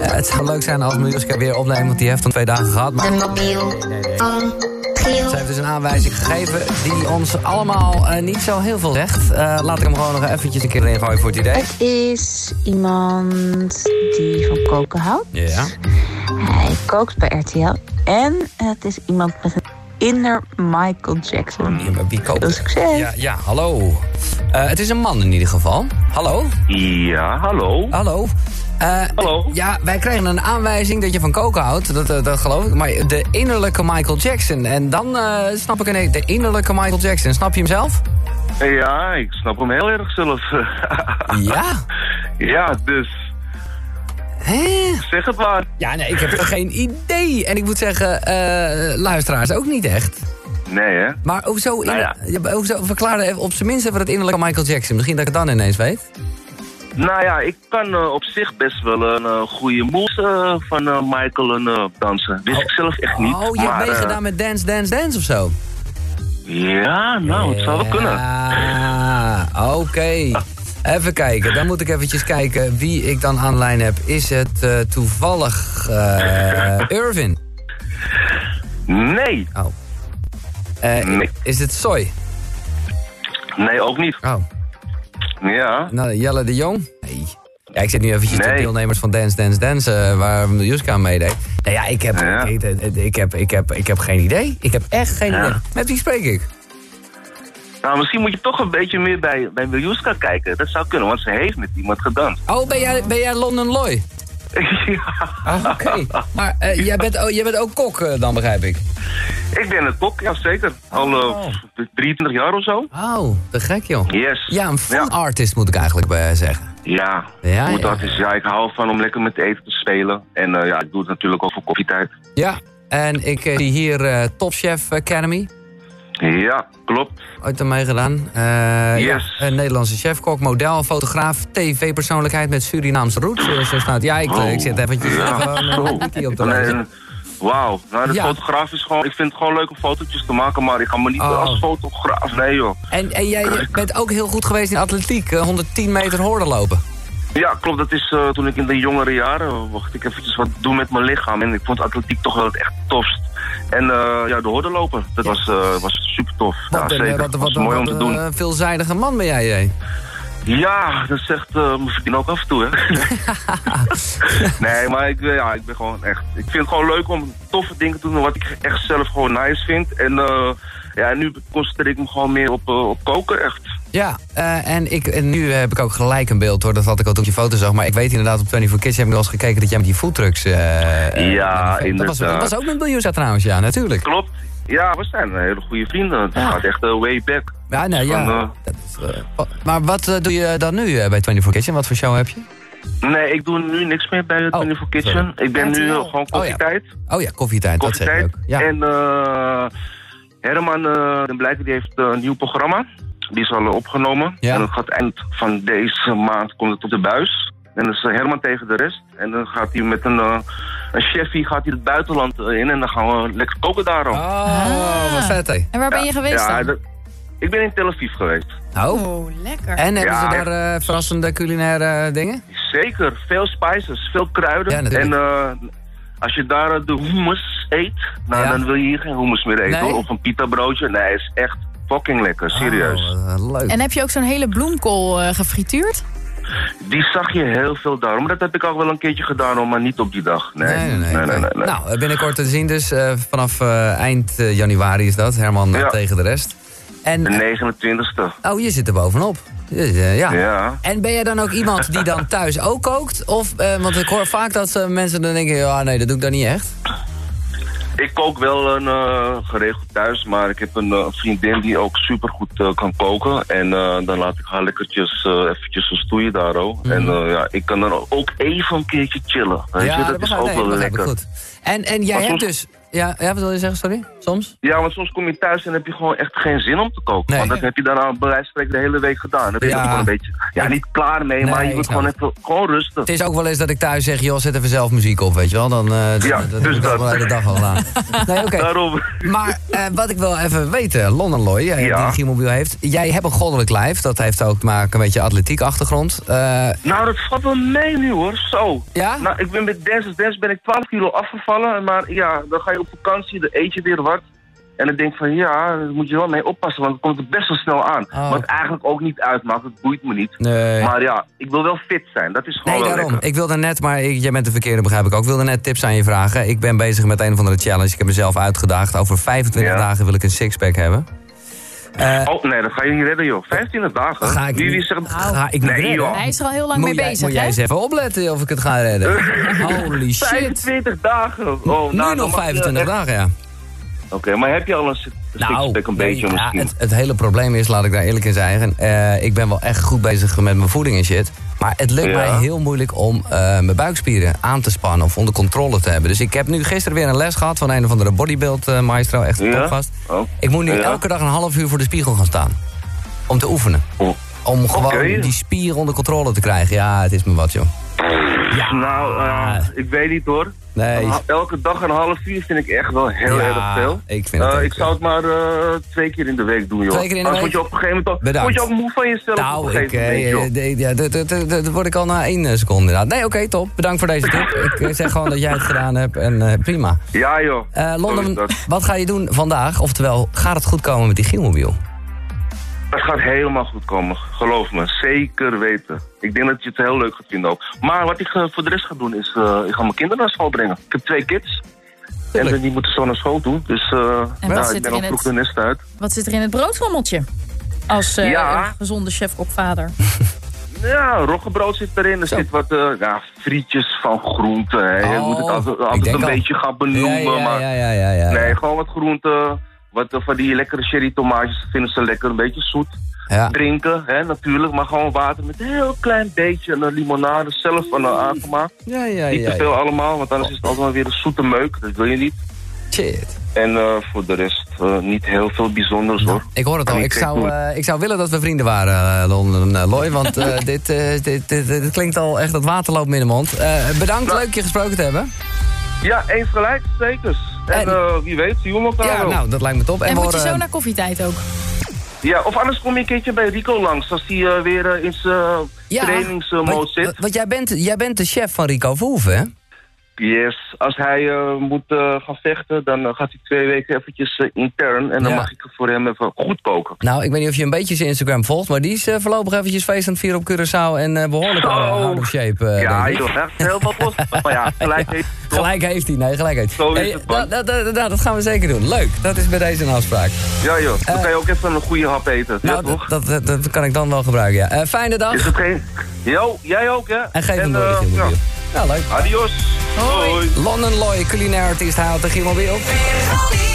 Eh, het zou leuk zijn als Miljuska weer opneemt, want die heeft dan twee dagen gehad. Maar De mobiel van Giel. ze heeft dus een aanwijzing gegeven die ons allemaal eh, niet zo heel veel zegt. Eh, laat ik hem gewoon nog eventjes een keer erin gooien voor het idee. Het is iemand die van koken houdt. Ja. Hij kookt bij RTL. En het is iemand met een inner Michael Jackson. Ja, maar wie koopt Veel succes. Ja, ja hallo. Eh, het is een man in ieder geval. Hallo. Ja, hallo. Hallo. Eh, Hallo. Ja, wij kregen een aanwijzing dat je van koken houdt. Dat, eh, dat, dat geloof ik. Maar de innerlijke Michael Jackson. En dan eh, snap ik ineens... De innerlijke Michael Jackson. Snap je hem zelf? Ja, ik snap hem heel erg zelf. Ja. ja, dus Hè? zeg het maar. Ja, nee, ik heb geen idee. En ik moet zeggen, eh, luisteraars ook niet echt. Nee, hè? Maar hoezo, in, Nou ja. ja, maar hoezo verklaar even op zijn minst even dat innerlijke Michael Jackson. Misschien dat ik het dan ineens weet. Nou ja, ik kan eh, op zich best wel een eh, goede moes eh, van eh, Michael en, eh, dansen. Wist ik zelf echt niet. oh, je hebt maar, eh, meegedaan met Dance, Dance, Dance of zo? Ja, nou, het zou wel kunnen. Ja, oké. Even kijken, dan moet ik eventjes kijken wie ik dan aan de lijn heb. Is het eh, toevallig eh Irvin? Nee, Oh. Eh, Nee. Is het Soy? nee, ook niet. Oh. Ja, Nou, Jelle de Jong? Nee. Ja, ik zit nu eventjes de Nee. deelnemers van Dance Dance Dance, eh, waar Juska aan meedeed. Nou ja, ik heb, Ja. Ik, ik, ik heb, ik, heb, ik heb geen idee. Ik heb echt geen Ja. idee. Met wie spreek ik? nou misschien moet je toch een beetje meer bij, bij Miljuska kijken. Dat zou kunnen, want ze heeft met iemand gedanst. Oh, ben jij, ben jij London Loy? ja, Ah, Oké. Maar eh, jij, bent, oh, jij bent ook kok eh, dan, begrijp ik. ik ben een kok, ja zeker. Al eh, Oh. 23 jaar of zo. Oh, te gek joh. Yes. Ja, een food Ja. artist moet ik eigenlijk eh, zeggen. Ja, Ja, moet ja. dat is, ja, ik hou van om lekker met eten te spelen. En eh, ja, ik doe het natuurlijk ook voor koffietijd. Ja, en ik eh, zie hier eh, Top Chef Academy. Ja, klopt. Ooit aan meegedaan. Eh, Yes. ja, een Nederlandse chefkok, model, fotograaf, tv-persoonlijkheid met Surinaamse roots. eh, Zo staat. Ja, ik, eh, Oh. ik zit eventjes Ja. gewoon eh, Oh. wiki op te Nee, lezen. eh, Wauw, nou, de Ja. fotograaf is gewoon... Ik vind het gewoon leuk om fotootjes te maken, maar ik ga me niet Oh. als fotograaf... Nee, joh. En, en jij jij bent ook heel goed geweest in atletiek. eh, 110 meter hoorden lopen. Ja, klopt. Dat is eh, toen ik in de jongere jaren... eh, mocht ik eventjes wat doen met mijn lichaam. En ik vond atletiek toch wel het echt tofst. En eh, ja, de horden lopen. Dat was, eh, was super tof. Ja, Wat een, eh, zeker. wat, wat, was mooi om wat te een, doen. eh, veelzijdige man ben jij. eh. jij. Ja, dat zegt eh mijn vriendin ook af en toe, hè. nee, maar ik, eh, ja, ik ben gewoon echt... Ik vind het gewoon leuk om toffe dingen te doen... wat ik echt zelf gewoon nice vind. En eh, ja, nu concentreer ik me gewoon meer op, eh, op koken, echt. Ja, eh, en, ik, en nu heb ik ook gelijk een beeld hoor. Dat had ik al toen ik je foto zag. Maar ik weet inderdaad op 24 Kids heb ik wel eens gekeken dat jij met die foodtrucks... eh, eh, Ja, met die- dat was, dat inderdaad. was ook met Biljoesa trouwens, ja, natuurlijk. Klopt. Ja, we zijn hele goede vrienden. Het Ja. gaat echt eh, way back. Ja, nou ja. Van, eh, dat is, eh, wa- maar wat eh, doe je dan nu eh, bij 24 Kids en wat voor show heb je? Nee, ik doe nu niks meer bij de Oh, Tony for Kitchen. Ik ben nu eh, gewoon Oh, ja. koffietijd. Oh ja, koffietijd, dat zeg ik koffietijd. ook. Ja. En eh, Herman eh Den Blijker die heeft eh, een nieuw programma. Die is al eh, opgenomen. Ja. En dat gaat eind van deze maand komt het op de buis. En dan is eh, Herman tegen de rest. En dan gaat hij met een, eh een chefie gaat hij het buitenland eh, in. En dan gaan we lekker koken daarom. Oh, wat vet hé. En waar ben je geweest ja, dan? dat- ik ben in Tel Aviv geweest. Oh. Oh, lekker. En hebben ze Ja. daar eh, verrassende culinaire eh, dingen? Zeker, veel spices, veel kruiden. Ja, natuurlijk. en eh, als je daar eh, de hummus eet, nou, Ja. dan wil je hier geen hummus meer eten. Nee? hoor. Of een pita broodje. Nee, is echt fucking lekker, serieus. Oh, wat leuk. En heb je ook zo'n hele bloemkool eh, gefrituurd? Die zag je heel veel daar. Maar dat heb ik al wel een keertje gedaan, hoor, maar niet op die dag. Nee, Nee, nee, nee. nee. nee. Nou, eh, binnenkort te zien dus. eh, vanaf eh, eind eh, januari is dat. Herman eh, Ja. tegen de rest. En, eh, De 29e. oh, je zit er bovenop. Je- eh, ja. Ja. En ben jij dan ook iemand die dan thuis ook kookt? Of, eh, want ik hoor vaak dat eh, mensen dan denken... ja, nee, dat doe ik dan niet echt. Ik kook wel een, eh, geregeld thuis, maar ik heb een eh, vriendin die ook supergoed eh, kan koken. En eh, dan laat ik haar lekkertjes eh, eventjes een stoeien daar Mhm. ook. En eh, ja, ik kan er ook even een keertje chillen. Weet je, dat is begrijp- ook nee, wel begrijp ik lekker. goed. En, en jij Maar hebt dus... soms- ja, ja, wat wil je zeggen, sorry? Soms? Ja, want soms kom je thuis en heb je gewoon echt geen zin om te koken. Nee. Want dat heb je dan aan bij wijze van spreken de hele week gedaan. Dan ben je Ja. er gewoon een beetje, ja, niet klaar mee, Nee, maar je ik wordt snap gewoon even, gewoon rustig. Het is ook wel eens dat ik thuis zeg, joh, zet even zelf muziek op, weet je wel. Dan eh, Ja, dat, dat dus heb ik dat. ook wel de hele dag al gedaan. Nee, oké. Daarom. Maar eh, wat ik wil even weten, London Loy, jij Ja. die Giermobiel heeft. Jij hebt een goddelijk lijf, dat heeft ook te maken met je atletiek achtergrond. Eh, Nou, dat valt wel mee nu hoor, zo. Ja? Nou, ik ben met Dance is Dance ben ik 12 kilo afgevallen. Maar ja, dan ga je op vakantie, dan eet je weer wat. En dan denk ik van ja, daar moet je wel mee oppassen, want het komt er best wel snel aan. Oh. Wat eigenlijk ook niet uitmaakt, het boeit me niet. nee. Maar ja, ik wil wel fit zijn, dat is gewoon Nee, wel daarom. lekker. Ik wilde net, maar ik- jij bent de verkeerde, begrijp ik ook. Ik wilde net tips aan je vragen. Ik ben bezig met een of andere challenge. Ik heb mezelf uitgedaagd. Over 25 Ja. dagen wil ik een sixpack hebben. Oh nee, dat ga je niet redden joh. 25 dagen. Eh. Ga ik Wie- wie niet- Ah, zegt- ga ik niet nee, redden. Joh. Hij is er al heel lang Oh, moet mee jij, bezig, moet jij hè? eens even opletten of ik het ga redden. Holy shit. 25 dagen. Oh, Nu nou, dan nog mag je 25 echt- dagen, ja. Oké, maar heb je al een, s- sixpack een Nou, nee, beetje ja, misschien? het, het hele probleem is, laat ik daar eerlijk in zijn. eh, ik ben wel echt goed bezig met mijn voeding en shit. Maar het lukt Ja. mij heel moeilijk om eh, mijn buikspieren aan te spannen of onder controle te hebben. Dus ik heb nu gisteren weer een les gehad van een of andere bodybuild eh, maestro, echt Ja? topgast. Oh. Ik moet nu Ja. elke dag een half uur voor de spiegel gaan staan. Om te oefenen. Oh. Om gewoon Oké. die spier onder controle te krijgen. Ja, het is me wat, joh. Nou, Ah. eh, ik weet niet hoor. Nee. Een ha- Elke dag een half uur vind ik echt wel heel Ja, erg veel. ik vind het Eh, ook ik zou het maar eh, twee keer in de week doen, joh. Twee keer in de Anders week? word je op een gegeven moment ook, Bedankt. word je ook moe van jezelf op Nou, een ik, gegeven eh, moment, joh. eh, ja, dat- dat- dat- dat word ik al na één eh, seconde inderdaad. Nee, oké, top. Bedankt voor deze tip. ik eh, zeg gewoon dat jij het gedaan hebt en eh, prima. Ja, joh. Eh, Zo is London, dat. wat ga je doen vandaag? Oftewel, gaat het goed komen met die Gielmobiel? Dat gaat helemaal goed komen, geloof me. Zeker weten. Ik denk dat je het heel leuk gaat vinden ook. Maar wat ik eh, voor de rest ga doen is, eh, ik ga mijn kinderen naar school brengen. Ik heb twee kids. Tuurlijk. En die moeten zo naar school toe. Dus eh, wat nou, zit ik er ben al in vroeg het- de nest uit. Wat zit er in het broodrommeltje? Als eh, Ja. een gezonde chef-opvader. Ja, roggebrood zit erin. Er Zo. zit wat eh, ja, frietjes van groenten. Hè. je Oh, moet het altijd, ik altijd denk een al. beetje gaan benoemen. ja, ja, maar ja, ja, ja, ja. Nee, gewoon wat groenten. Wat eh, van die lekkere cherry tomaatjes dat vinden ze lekker. Een beetje zoet. Ja. Drinken, hè, natuurlijk. Maar gewoon water met een heel klein beetje. En een limonade zelf van eh, aangemaakt. Ja, ja, Niet ja, te ja. veel allemaal, want anders is het altijd maar weer een zoete meuk. Dat wil je niet. Shit. En eh, voor de rest eh, niet heel veel bijzonders hoor. Ik hoor het al. Ik Kan niet gek zou, doen. eh, ik zou willen dat we vrienden waren, eh, London eh, Loy. Want eh, dit, eh, dit, dit, dit klinkt al echt, dat water loopt me in de mond. Eh, bedankt, Nou. leuk je gesproken te hebben. Ja, eens gelijk, zeker. En, En- eh, wie weet, zien we elkaar Ja, wel. nou, dat lijkt me top. we En moet je horen- zo naar koffietijd ook? Ja, of anders kom je een keertje bij Rico langs als hij eh, weer eh, in zijn trainingsmode want- zit. Want jij bent, jij bent de chef van Rico Verhoeven, hè? Yes, als hij eh, moet eh, gaan vechten, dan eh, gaat hij twee weken eventjes eh, intern. En dan Ja. mag ik voor hem even goed koken. Nou, ik weet niet of je een beetje zijn Instagram volgt, maar die is eh, voorlopig eventjes feest aan het vieren op Curaçao en eh, behoorlijk Zo. aan out of shape. eh, ja, denk ik. joh, hij heeft heel wat los. Maar ja, gelijk heeft hij toch. Gelijk heeft hij, nee, gelijk heeft hij. Zo is Hey, nou, het, man. dat- dat- dat- dat- dat gaan we zeker doen. Leuk, dat is bij deze een afspraak. Ja joh, dan kan je ook even een goede hap eten. Eh, Nou, ja, toch? dat, dat, dat, dat kan ik dan wel gebruiken, ja. Eh, fijne dag Is het geen... Jo, jij ook hè? en geef hem door, eh, de Gielmobiel. ja. Nou, leuk. Adios. Hoi. London Loy, culinair artiest, haalt de Gielmobiel. Robbie.